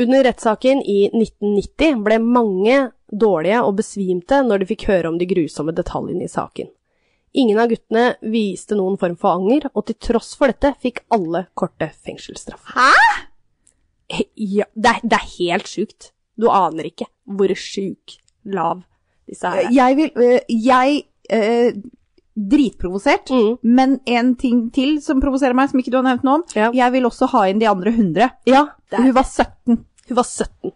[SPEAKER 1] Under rettssaken i 1990 ble mange dårlige og besvimte når de fikk høre om de grusomme detaljene i saken. Ingen av guttene viste noen form for anger, og til tross for dette fikk alle korte fengselsstraff. Hæ?! Ja, det er, det er helt sjukt. Du aner ikke hvor sjuk lav disse her er.
[SPEAKER 2] Jeg vil øh, Jeg øh, Dritprovosert.
[SPEAKER 1] Mm.
[SPEAKER 2] Men en ting til som provoserer meg, som ikke du har nevnt noe om.
[SPEAKER 1] Ja.
[SPEAKER 2] Jeg vil også ha inn de andre 100.
[SPEAKER 1] Ja, det er,
[SPEAKER 2] Hun var 17.
[SPEAKER 1] hun var 17.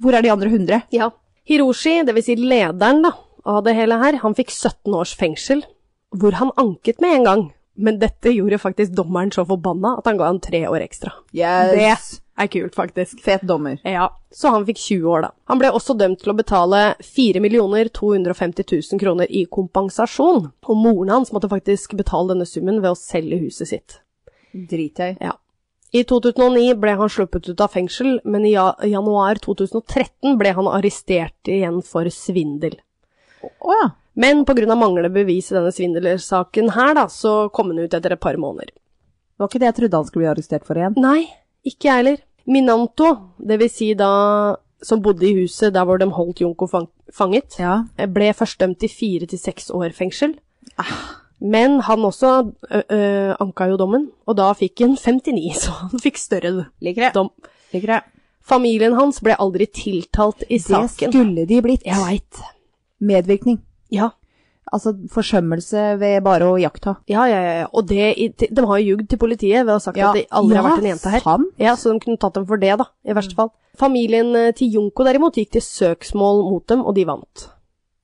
[SPEAKER 2] Hvor er de andre 100?
[SPEAKER 1] Ja. Hiroshi, dvs. Si lederen da, av det hele her, han fikk 17 års fengsel, hvor han anket med en gang. Men dette gjorde faktisk dommeren så forbanna at han ga han tre år ekstra. Det er kult, faktisk.
[SPEAKER 2] Det. Fet dommer.
[SPEAKER 1] Ja, Så han fikk 20 år, da. Han ble også dømt til å betale 4 250 000 kroner i kompensasjon, og moren hans måtte faktisk betale denne summen ved å selge huset sitt.
[SPEAKER 2] Drithøy.
[SPEAKER 1] Ja. I 2009 ble han sluppet ut av fengsel, men i ja- januar 2013 ble han arrestert igjen for svindel.
[SPEAKER 2] Å ja.
[SPEAKER 1] Men pga. manglende bevis i denne svindelsaken her, da, så kom han ut etter et par måneder.
[SPEAKER 2] Det var ikke det jeg trodde han skulle bli arrestert for igjen.
[SPEAKER 1] Nei, ikke jeg heller. Minanto, dvs. Si da som bodde i huset der hvor de holdt Junko fang fanget,
[SPEAKER 2] Ja.
[SPEAKER 1] ble først dømt til fire til seks år fengsel.
[SPEAKER 2] Ah.
[SPEAKER 1] Men han også ø, ø, anka jo dommen, og da fikk han 59, så han fikk større
[SPEAKER 2] Liker det.
[SPEAKER 1] dom.
[SPEAKER 2] Liker det.
[SPEAKER 1] Familien hans ble aldri tiltalt i
[SPEAKER 2] Det
[SPEAKER 1] saken.
[SPEAKER 2] skulle de blitt.
[SPEAKER 1] Jeg veit.
[SPEAKER 2] Medvirkning.
[SPEAKER 1] Ja.
[SPEAKER 2] Altså forsømmelse ved bare å jakta.
[SPEAKER 1] Ja, ja, ja. ja. Og det, i- til- de har jo ljugd til politiet ved å ha sagt
[SPEAKER 2] Ja.
[SPEAKER 1] at det aldri har
[SPEAKER 2] Ja,
[SPEAKER 1] vært en jente her.
[SPEAKER 2] sant.
[SPEAKER 1] Ja, så de kunne tatt dem for det, da, i
[SPEAKER 2] Mm.
[SPEAKER 1] verste fall. Familien eh, til Junko derimot gikk til søksmål mot dem, og de vant.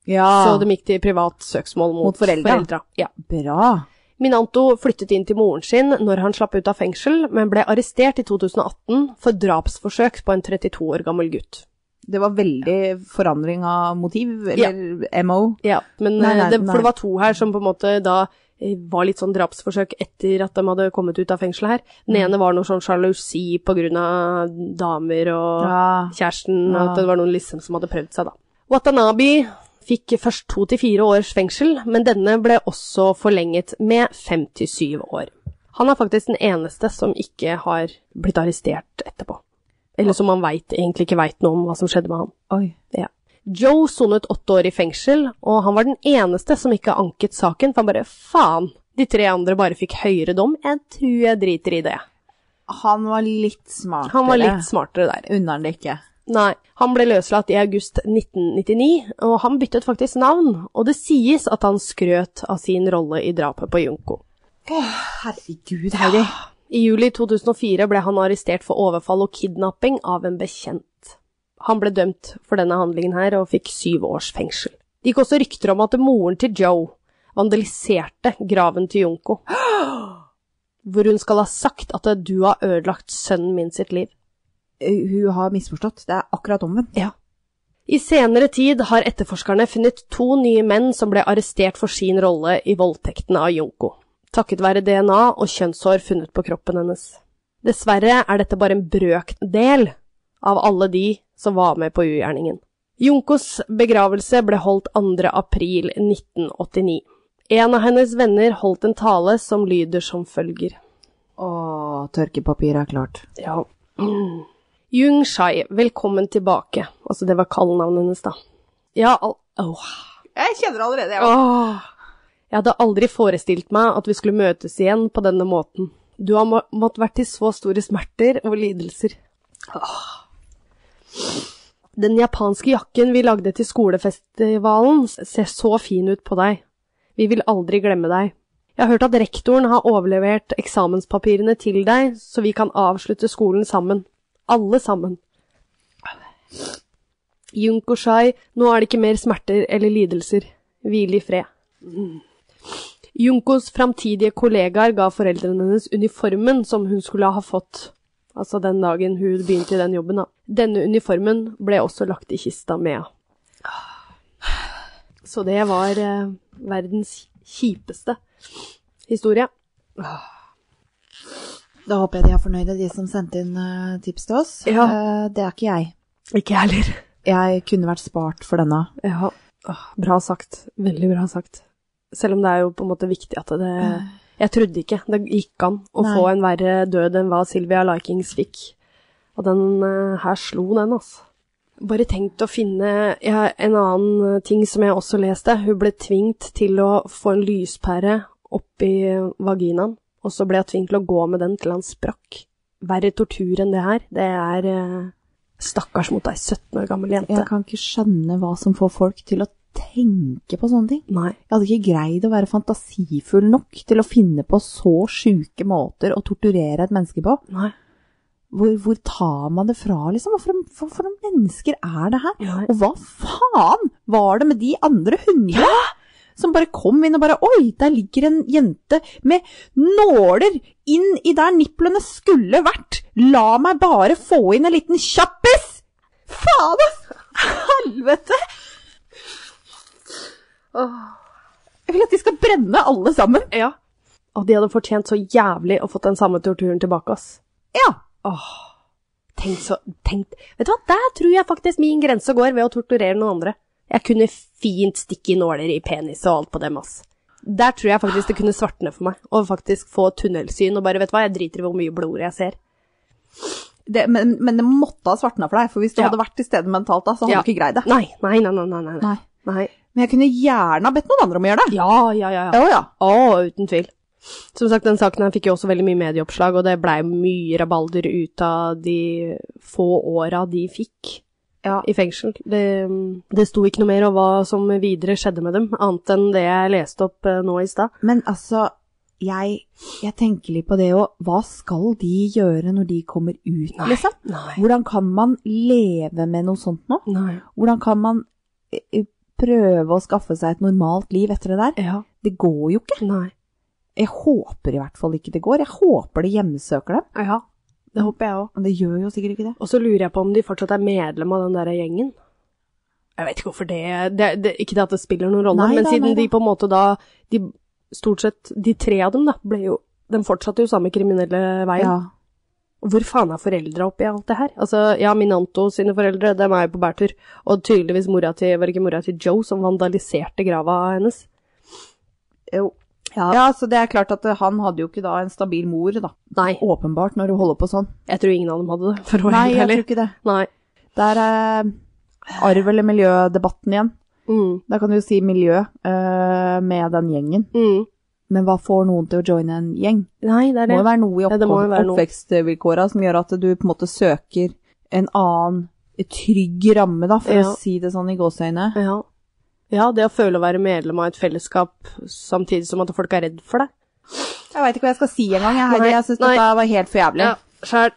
[SPEAKER 2] Ja,
[SPEAKER 1] Så de gikk til privat søksmål mot,
[SPEAKER 2] Ah. Mot foreldra.
[SPEAKER 1] Ja.
[SPEAKER 2] bra.
[SPEAKER 1] Minanto flyttet inn til moren sin når han slapp ut av fengsel, men ble arrestert i 2018 for drapsforsøk på en 32 år gammel gutt.
[SPEAKER 2] Det var veldig forandring av motiv, eller MO.
[SPEAKER 1] Ja, men
[SPEAKER 2] Nei, nei,
[SPEAKER 1] eh, det,
[SPEAKER 2] nei.
[SPEAKER 1] For det var to her som på en måte da eh, var litt sånn drapsforsøk etter at de hadde kommet ut av fengselet her. Den
[SPEAKER 2] Mm.
[SPEAKER 1] ene var noe sånn sjalusi på grunn av damer og
[SPEAKER 2] Ja.
[SPEAKER 1] kjæresten, og
[SPEAKER 2] Ja.
[SPEAKER 1] at det var noen liksom som hadde prøvd seg da. Watanabe fikk først to til fire års fengsel, men denne ble også forlenget med fem til syv år. Han er faktisk den eneste som ikke har blitt arrestert etterpå. Eller som han vet, egentlig ikke veit noe om hva som skjedde med han.
[SPEAKER 2] Oi.
[SPEAKER 1] Ja. Joe sonet åtte år i fengsel, og han var den eneste som ikke anket saken, for han bare faen, de tre andre bare fikk høyere dom, jeg tror jeg driter i det.
[SPEAKER 2] Han var litt smartere.
[SPEAKER 1] Han var litt smartere der.
[SPEAKER 2] Unner han det ikke.
[SPEAKER 1] Nei, han ble løslatt i august 1999, og han byttet faktisk navn, og det sies at han skrøt av sin rolle i drapet på Junko.
[SPEAKER 2] Herregud, Heidi.
[SPEAKER 1] I juli 2004 ble han arrestert for overfall og kidnapping av en bekjent. Han ble dømt for denne handlingen her og fikk syv års fengsel. Det gikk også rykter om at moren til Joe vandaliserte graven til Junko, hvor hun skal ha sagt at du har ødelagt sønnen min sitt liv.
[SPEAKER 2] Eh, Hun har misforstått. Det er akkurat omvendt.
[SPEAKER 1] Ja. I senere tid har etterforskerne funnet to nye menn som ble arrestert for sin rolle i voldtekten av Junko, takket være DNA og kjønnshår funnet på kroppen hennes. Dessverre er dette bare en brøkdel av alle de som var med på ugjerningen. Junkos begravelse ble holdt 2. april 1989. En av hennes venner holdt en tale som lyder som følger.
[SPEAKER 2] Å, tørkepapir er klart.
[SPEAKER 1] Ja. Yung Shai, velkommen tilbake. Altså, det var kallenavnet hennes, da. Ja, al Åh.
[SPEAKER 2] Jeg kjenner allerede,
[SPEAKER 1] Åh. Jeg hadde aldri forestilt meg at vi skulle møtes igjen på denne måten. Du har må måttet vært i så store smerter og lidelser. Åh. Den japanske jakken vi lagde til skolefestivalen ser så fin ut på deg. Vi vil aldri glemme deg. Jeg har hørt at rektoren har overlevert eksamenspapirene til deg, så vi kan avslutte skolen sammen. Alle sammen. Junko Shai, nå er det ikke mer smerter eller lidelser. Hvil i fred. Junkos framtidige kollegaer ga foreldrene hennes uniformen som hun skulle ha fått, altså den dagen hun begynte i den jobben. Da. Denne uniformen ble også lagt i kista med henne. Så det var eh, verdens kjipeste historie.
[SPEAKER 2] Da håper jeg de er fornøyde, de som sendte inn eh, tips til oss.
[SPEAKER 1] Ja.
[SPEAKER 2] Eh, det er ikke jeg.
[SPEAKER 1] Ikke jeg heller.
[SPEAKER 2] Jeg kunne vært spart for denne.
[SPEAKER 1] Ja. Åh, Bra sagt. Veldig bra sagt. Selv om det er jo på en måte viktig at det Jeg trodde ikke det gikk an å
[SPEAKER 2] Nei.
[SPEAKER 1] få en verre død enn hva Sylvia Likings fikk. Og den eh, her slo den, altså. Bare tenkt å finne ja, en annen eh, ting som jeg også leste. Hun ble tvingt til å få en lyspære oppi vaginaen, og så ble hun tvingt til å gå med den til han sprakk. Verre tortur enn det her. Det er eh, Stakkars mot ei 17 år gammel jente.
[SPEAKER 2] Jeg kan ikke skjønne hva som får folk til å tenke på sånne ting.
[SPEAKER 1] Nei.
[SPEAKER 2] Jeg hadde ikke greid å være fantasifull nok til å finne på så sjuke måter å torturere et menneske på.
[SPEAKER 1] Nei.
[SPEAKER 2] Hvor, hvor tar man det fra, liksom? Hva for, hva for noen mennesker er det her?
[SPEAKER 1] Nei.
[SPEAKER 2] Og hva faen var det med de andre hundene? Som bare kom inn og bare Oi, der ligger en jente med nåler inn i der nipplene skulle vært! La meg bare få inn en liten kjappis! Faen, ass! Helvete! Jeg vil at de skal brenne alle sammen.
[SPEAKER 1] Ja. Og de hadde fortjent så jævlig å fått den samme torturen tilbake, ass.
[SPEAKER 2] Ja.
[SPEAKER 1] Tenk så tenk. Vet du hva, der tror jeg faktisk min grense går ved å torturere noen andre. Jeg kunne fint stikke i nåler i penis og alt på dem, ass. Der tror jeg faktisk det kunne svartne for meg, å faktisk få tunnelsyn og bare, vet du hva, jeg driter i hvor mye blod jeg ser.
[SPEAKER 2] Det, men, men det måtte ha svartna for deg, for hvis du
[SPEAKER 1] Ja.
[SPEAKER 2] hadde vært til stede mentalt da, så hadde
[SPEAKER 1] Ja.
[SPEAKER 2] du ikke greid det.
[SPEAKER 1] Nei, nei, nei, nei, nei, nei.
[SPEAKER 2] Nei.
[SPEAKER 1] Nei.
[SPEAKER 2] Men jeg kunne gjerne ha bedt noen andre om å gjøre det.
[SPEAKER 1] Ja, ja, ja, ja.
[SPEAKER 2] Ja, ja.
[SPEAKER 1] Å, uten tvil. Som sagt, den saken her fikk jo også veldig mye medieoppslag, og det blei mye rabalder ut av de få åra de fikk.
[SPEAKER 2] Ja.
[SPEAKER 1] i fengsel. Det, det sto ikke noe mer om hva som videre skjedde med dem, annet enn det jeg leste opp eh, nå i stad.
[SPEAKER 2] Men altså, jeg, jeg tenker litt på det òg. Hva skal de gjøre når de kommer ut, liksom?
[SPEAKER 1] Nei.
[SPEAKER 2] Hvordan kan man leve med noe sånt nå?
[SPEAKER 1] Nei.
[SPEAKER 2] Hvordan kan man eh, eh, prøve å skaffe seg et normalt liv etter det der?
[SPEAKER 1] Ja.
[SPEAKER 2] Det går jo ikke.
[SPEAKER 1] Nei.
[SPEAKER 2] Jeg håper i hvert fall ikke det går. Jeg håper det hjemsøker dem.
[SPEAKER 1] Ja. Det håper jeg òg.
[SPEAKER 2] Men det gjør jo sikkert ikke det.
[SPEAKER 1] Og så lurer jeg på om de fortsatt er medlem av den derre gjengen. Jeg vet ikke hvorfor det, det, det Ikke det at det spiller noen rolle,
[SPEAKER 2] Nei
[SPEAKER 1] men
[SPEAKER 2] da,
[SPEAKER 1] siden
[SPEAKER 2] nei da.
[SPEAKER 1] de på en måte da de, Stort sett de tre av dem, da, ble jo De fortsatte jo samme kriminelle veien.
[SPEAKER 2] Ja.
[SPEAKER 1] Hvor faen er foreldra oppi alt det her? Altså, ja, Minanto sine foreldre, dem er jo på bærtur. Og tydeligvis mora til, var det ikke mora til Joe som vandaliserte grava hennes?
[SPEAKER 2] Jo.
[SPEAKER 1] Ja.
[SPEAKER 2] Ja, så det er klart at eh, han hadde jo ikke da en stabil mor, da.
[SPEAKER 1] Nei,
[SPEAKER 2] Åpenbart, når du holder på sånn.
[SPEAKER 1] jeg tror ingen av dem hadde det, for å være
[SPEAKER 2] Nei,
[SPEAKER 1] helt
[SPEAKER 2] jeg
[SPEAKER 1] ærlig.
[SPEAKER 2] tror ikke det.
[SPEAKER 1] Nei.
[SPEAKER 2] Der er eh, arv- eller miljødebatten igjen.
[SPEAKER 1] Mm,
[SPEAKER 2] Da kan du jo si miljø eh, med den gjengen.
[SPEAKER 1] mm.
[SPEAKER 2] Men hva får noen til å joine en gjeng?
[SPEAKER 1] Nei, det er
[SPEAKER 2] Det må
[SPEAKER 1] det.
[SPEAKER 2] jo være noe i
[SPEAKER 1] Ja, det må jo være noe.
[SPEAKER 2] oppvekstvilkåra som gjør at du på en måte søker en annen trygg ramme, da, for
[SPEAKER 1] Ja.
[SPEAKER 2] å si det sånn i gåseøyne.
[SPEAKER 1] Ja. ja, det å føle å være medlem av et fellesskap samtidig som at folk er redd for deg.
[SPEAKER 2] Jeg veit ikke hva jeg skal si engang, jeg,
[SPEAKER 1] Nei,
[SPEAKER 2] Heidi. Jeg syns
[SPEAKER 1] nei.
[SPEAKER 2] dette var helt for jævlig.
[SPEAKER 1] Ja, sjæl.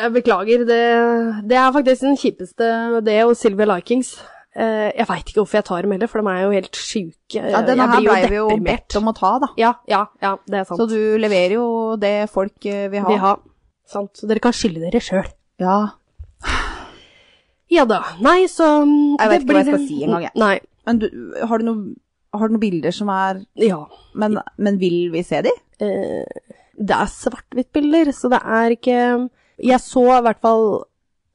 [SPEAKER 1] Jeg beklager. Det, det er faktisk den kjipeste, det og Sylvia Likings. Eh, jeg veit ikke hvorfor jeg tar dem heller, for de er jo helt sjuke.
[SPEAKER 2] Ja,
[SPEAKER 1] jeg
[SPEAKER 2] denne her
[SPEAKER 1] blir
[SPEAKER 2] blei vi jo
[SPEAKER 1] deprimert.
[SPEAKER 2] bedt om å ta, da.
[SPEAKER 1] Ja, ja, ja, det er sant.
[SPEAKER 2] Så du leverer jo det folk eh, vil ha.
[SPEAKER 1] Vi har. Sant. Så dere kan skylde dere sjøl.
[SPEAKER 2] Ja.
[SPEAKER 1] Ja da. Nei, så mm,
[SPEAKER 2] Jeg
[SPEAKER 1] det
[SPEAKER 2] vet ikke hva jeg
[SPEAKER 1] blir-
[SPEAKER 2] skal si engang, jeg.
[SPEAKER 1] Nei.
[SPEAKER 2] Men du, har, du noen, har du noen bilder som er
[SPEAKER 1] Ja.
[SPEAKER 2] Men, men vil vi se de?
[SPEAKER 1] Eh, det er svart-hvitt-bilder, så det er ikke Jeg så i hvert fall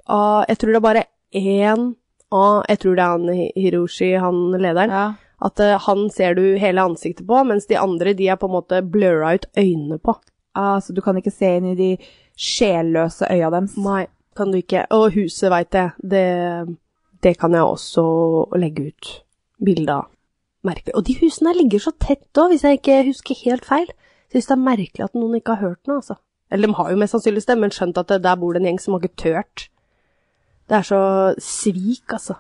[SPEAKER 1] av Jeg tror det er bare én av Jeg tror det er han Hi- Hiroshi, han lederen.
[SPEAKER 2] Ja.
[SPEAKER 1] At eh, han ser du hele ansiktet på, mens de andre de er på en måte blurra ut øynene på.
[SPEAKER 2] Altså, du kan ikke se inn i de sjelløse øya deres.
[SPEAKER 1] Nei, kan du ikke. Og huset, veit jeg. Det, det kan jeg også legge ut bilde av. Merkelig. Og de husene her ligger så tett òg, hvis jeg ikke husker helt feil. Syns det er merkelig at noen ikke har hørt noe, altså. Eller de har jo mest sannsynlig det, men skjønt at det, der bor det en gjeng som har ikke tørt. Det er så svik, altså.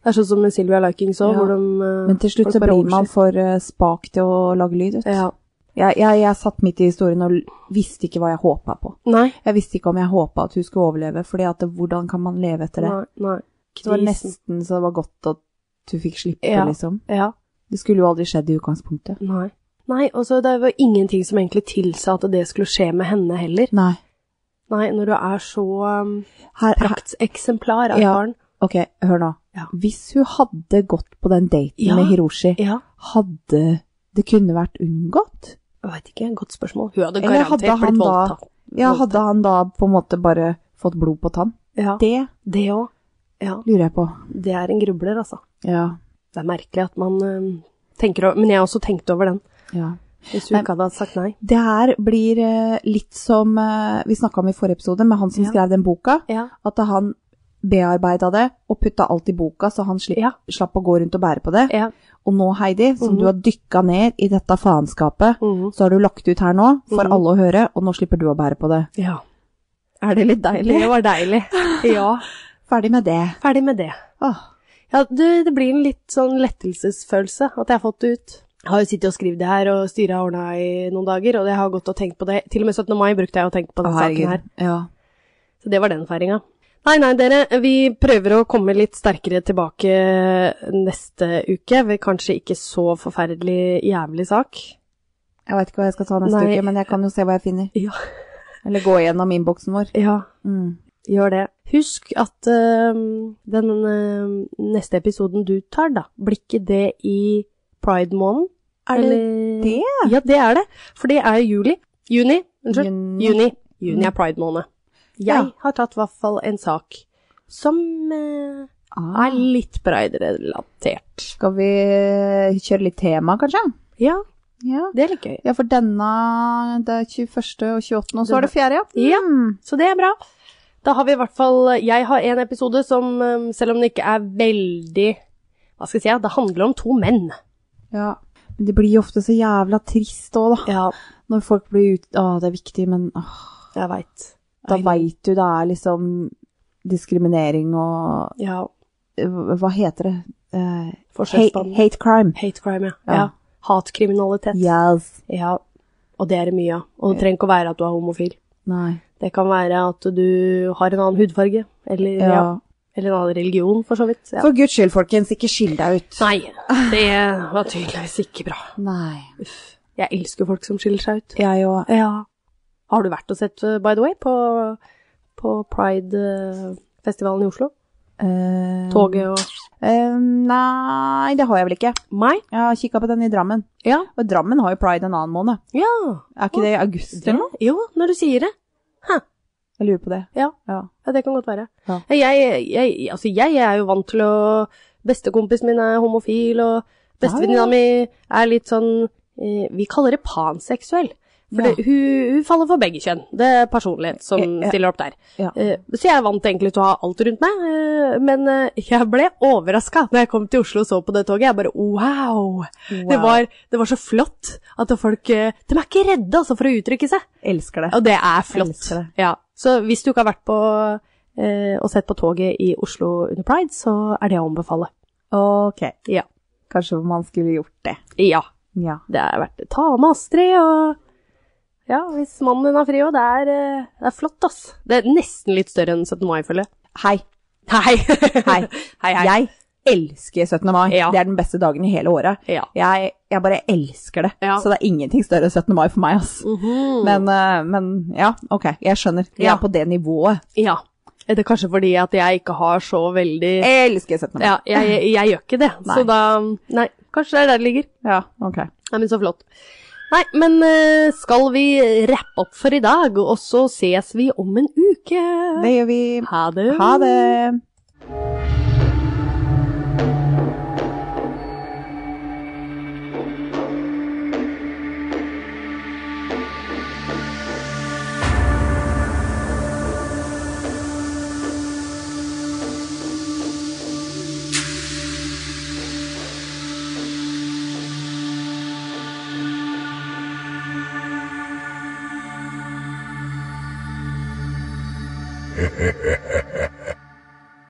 [SPEAKER 1] Det er sånn som med Sylvia Likings òg,
[SPEAKER 2] Ja.
[SPEAKER 1] hvor de eh,
[SPEAKER 2] Men til slutt
[SPEAKER 1] folk
[SPEAKER 2] så
[SPEAKER 1] bare
[SPEAKER 2] blir man
[SPEAKER 1] overser.
[SPEAKER 2] for eh, spak til å lage lyd. vet du.
[SPEAKER 1] Ja.
[SPEAKER 2] Jeg, jeg, jeg satt midt i historien og l- visste ikke hva jeg håpa på.
[SPEAKER 1] Nei.
[SPEAKER 2] Jeg visste ikke om jeg håpa at hun skulle overleve, fordi at det- hvordan kan man leve etter det?
[SPEAKER 1] Nei. nei.
[SPEAKER 2] det var
[SPEAKER 1] Krisen.
[SPEAKER 2] nesten så det var godt at du fikk slippe,
[SPEAKER 1] Ja.
[SPEAKER 2] liksom.
[SPEAKER 1] Ja.
[SPEAKER 2] Det skulle jo aldri skjedd i utgangspunktet.
[SPEAKER 1] Nei. Nei, og så det var ingenting som egentlig tilsa at det skulle skje med henne heller.
[SPEAKER 2] Nei.
[SPEAKER 1] Nei, når du er så um,
[SPEAKER 2] Her, her,
[SPEAKER 1] praktseksemplar av
[SPEAKER 2] Ja.
[SPEAKER 1] barn.
[SPEAKER 2] ok, hør nå.
[SPEAKER 1] Ja.
[SPEAKER 2] Hvis hun hadde gått på den daten
[SPEAKER 1] Ja.
[SPEAKER 2] med Hiroshi,
[SPEAKER 1] Ja,
[SPEAKER 2] hadde det kunne vært unngått?
[SPEAKER 1] jeg veit ikke, godt spørsmål. Hun hadde
[SPEAKER 2] Eller
[SPEAKER 1] garantert
[SPEAKER 2] hadde han
[SPEAKER 1] blitt
[SPEAKER 2] da-
[SPEAKER 1] voldtatt.
[SPEAKER 2] Ja, hadde han da på en måte bare fått blod på tann?
[SPEAKER 1] Ja,
[SPEAKER 2] Det
[SPEAKER 1] det òg. Ja,
[SPEAKER 2] lurer jeg på.
[SPEAKER 1] det er en grubler, altså.
[SPEAKER 2] Ja.
[SPEAKER 1] Det er merkelig at man um, tenker over Men jeg har også tenkt over den,
[SPEAKER 2] ja.
[SPEAKER 1] hvis hun
[SPEAKER 2] Nei.
[SPEAKER 1] ikke hadde sagt nei.
[SPEAKER 2] Det her blir eh, litt som eh, vi snakka om i forrige episode, med han som
[SPEAKER 1] Ja.
[SPEAKER 2] skrev den boka.
[SPEAKER 1] Ja.
[SPEAKER 2] At han bearbeida det og putta alt i boka, så han slipp,
[SPEAKER 1] Ja.
[SPEAKER 2] slapp å gå rundt og bære på det.
[SPEAKER 1] ja.
[SPEAKER 2] Og nå, Heidi, som
[SPEAKER 1] Mhm.
[SPEAKER 2] du har dykka ned i dette faenskapet,
[SPEAKER 1] Mhm.
[SPEAKER 2] så har du lagt ut her nå for
[SPEAKER 1] Mhm.
[SPEAKER 2] alle å høre, og nå slipper du å bære på det.
[SPEAKER 1] ja.
[SPEAKER 2] Er det litt deilig?
[SPEAKER 1] Det var deilig. Ja.
[SPEAKER 2] Ferdig med det.
[SPEAKER 1] Ferdig med det.
[SPEAKER 2] Åh.
[SPEAKER 1] Ja, det, det blir en litt sånn lettelsesfølelse at jeg har fått det ut. Jeg har jo sittet og skrevet det her, og styret har ordna i noen dager, og jeg har gått og tenkt på det. Til og med 17. mai brukte jeg å tenke på
[SPEAKER 2] Å,
[SPEAKER 1] den
[SPEAKER 2] herregud.
[SPEAKER 1] saken her.
[SPEAKER 2] Ja.
[SPEAKER 1] Så det var den feiringa. Nei, nei, dere, vi prøver å komme litt sterkere tilbake neste uke. Ved kanskje ikke så forferdelig jævlig sak.
[SPEAKER 2] Jeg veit ikke hva jeg skal ta neste
[SPEAKER 1] Nei.
[SPEAKER 2] uke, men jeg kan jo se hva jeg finner.
[SPEAKER 1] Ja.
[SPEAKER 2] Eller gå gjennom innboksen vår.
[SPEAKER 1] Ja,
[SPEAKER 2] Mm.
[SPEAKER 1] gjør det. Husk at øhm, den øhm, neste episoden du tar, da, blir ikke det i pride-måneden?
[SPEAKER 2] Er det
[SPEAKER 1] Eller-
[SPEAKER 2] det?
[SPEAKER 1] Ja, det er det. For det er juli. Juni. Unnskyld.
[SPEAKER 2] Juni.
[SPEAKER 1] Juni. Juni er pride-måned. Jeg
[SPEAKER 2] Ja.
[SPEAKER 1] har tatt i hvert fall en sak som eh,
[SPEAKER 2] Ah.
[SPEAKER 1] er litt pride-relatert.
[SPEAKER 2] Skal vi kjøre litt tema, kanskje?
[SPEAKER 1] Ja,
[SPEAKER 2] Ja.
[SPEAKER 1] det er litt gøy.
[SPEAKER 2] Ja, for denne det er 21. og 28., og så er det 4., ja.
[SPEAKER 1] Ja.
[SPEAKER 2] Mm.
[SPEAKER 1] Så det er bra. Da har vi i hvert fall Jeg har en episode som, eh, selv om den ikke er veldig Hva skal jeg si? ja, Det handler om to menn.
[SPEAKER 2] ja. Men det blir jo ofte så jævla trist òg, da.
[SPEAKER 1] Ja,
[SPEAKER 2] Når folk blir ut... Å, det er viktig, men åh,
[SPEAKER 1] jeg veit.
[SPEAKER 2] da veit du det er liksom diskriminering og
[SPEAKER 1] Ja.
[SPEAKER 2] Hva heter det? Eh, hate,
[SPEAKER 1] Forskjellsbehandling.
[SPEAKER 2] hate crime.
[SPEAKER 1] Hate crime, ja.
[SPEAKER 2] Ja.
[SPEAKER 1] ja. Hatkriminalitet.
[SPEAKER 2] Yes.
[SPEAKER 1] Ja. Og det er det mye av. Og det trenger ikke å være at du er homofil.
[SPEAKER 2] Nei.
[SPEAKER 1] Det kan være at du har en annen hudfarge, eller, ja.
[SPEAKER 2] Ja.
[SPEAKER 1] eller en annen religion, for så vidt. Ja.
[SPEAKER 2] For guds skyld, folkens, ikke skill deg ut.
[SPEAKER 1] Nei, det var tydeligvis ikke bra.
[SPEAKER 2] Nei.
[SPEAKER 1] Uff. Jeg elsker folk som skiller seg ut.
[SPEAKER 2] Jeg òg.
[SPEAKER 1] Ja. Har du vært og sett, uh, by the way, på, på Pride-festivalen i Oslo?
[SPEAKER 2] eh,
[SPEAKER 1] Toget og
[SPEAKER 2] eh, nei, det har jeg vel ikke.
[SPEAKER 1] meg?
[SPEAKER 2] Jeg har kikka på den i Drammen.
[SPEAKER 1] Ja.
[SPEAKER 2] Og Drammen har jo pride en annen måned.
[SPEAKER 1] Ja.
[SPEAKER 2] Er ikke det i august eller noe?
[SPEAKER 1] Jo, når du sier det.
[SPEAKER 2] Jeg lurer på det.
[SPEAKER 1] Ja.
[SPEAKER 2] Ja.
[SPEAKER 1] Ja, det kan godt være.
[SPEAKER 2] Ja.
[SPEAKER 1] Jeg, jeg, altså, jeg er jo vant til å Bestekompisen min er homofil, og bestevenninna
[SPEAKER 2] Ja, ja.
[SPEAKER 1] mi er litt sånn eh, Vi kaller det panseksuell. For
[SPEAKER 2] Ja.
[SPEAKER 1] det, hun, hun faller for begge kjønn. Det er personlighet som
[SPEAKER 2] Ja, ja.
[SPEAKER 1] stiller opp der.
[SPEAKER 2] Ja.
[SPEAKER 1] Eh, så jeg er vant egentlig til å ha alt rundt meg, eh, men eh, jeg ble overraska da jeg kom til Oslo og så på det toget. Jeg bare wow! Det,
[SPEAKER 2] Wow.
[SPEAKER 1] var, det var så flott at folk eh, De er ikke redde altså, for å uttrykke seg.
[SPEAKER 2] Elsker det.
[SPEAKER 1] Og det er flott.
[SPEAKER 2] Elsker det.
[SPEAKER 1] Ja. Så hvis du ikke har vært på eh, og sett på toget i Oslo under Pride, så er det å anbefale.
[SPEAKER 2] Ok.
[SPEAKER 1] Ja.
[SPEAKER 2] Kanskje man skulle gjort det.
[SPEAKER 1] Ja,
[SPEAKER 2] Ja.
[SPEAKER 1] det er verdt det. Ta med Astrid og Ja, hvis mannen din har fri òg. Det, er, eh, det er flott, ass. Det er nesten litt større enn 17. mai, føler jeg.
[SPEAKER 2] Hei.
[SPEAKER 1] Hei.
[SPEAKER 2] Hei.
[SPEAKER 1] hei, hei.
[SPEAKER 2] Jeg elsker 17. mai.
[SPEAKER 1] Ja.
[SPEAKER 2] Det er den beste dagen i hele året.
[SPEAKER 1] Ja.
[SPEAKER 2] Jeg, jeg bare elsker det.
[SPEAKER 1] Ja.
[SPEAKER 2] Så det er ingenting større enn 17. mai for meg, ass.
[SPEAKER 1] Mhm.
[SPEAKER 2] Men, eh, men ja, ok, jeg skjønner. Jeg
[SPEAKER 1] Ja.
[SPEAKER 2] er på det nivået.
[SPEAKER 1] ja. Er det kanskje fordi at jeg ikke har så veldig
[SPEAKER 2] Jeg elsker 17. mai.
[SPEAKER 1] Ja, jeg, jeg, jeg gjør ikke det.
[SPEAKER 2] Nei.
[SPEAKER 1] Så da Nei, kanskje det er der det ligger.
[SPEAKER 2] Ja, ok.
[SPEAKER 1] Nei, men så flott. Nei, men eh, skal vi rappe opp for i dag, og så ses vi om en uke.
[SPEAKER 2] Det gjør vi.
[SPEAKER 1] Ha det.
[SPEAKER 2] Ha det.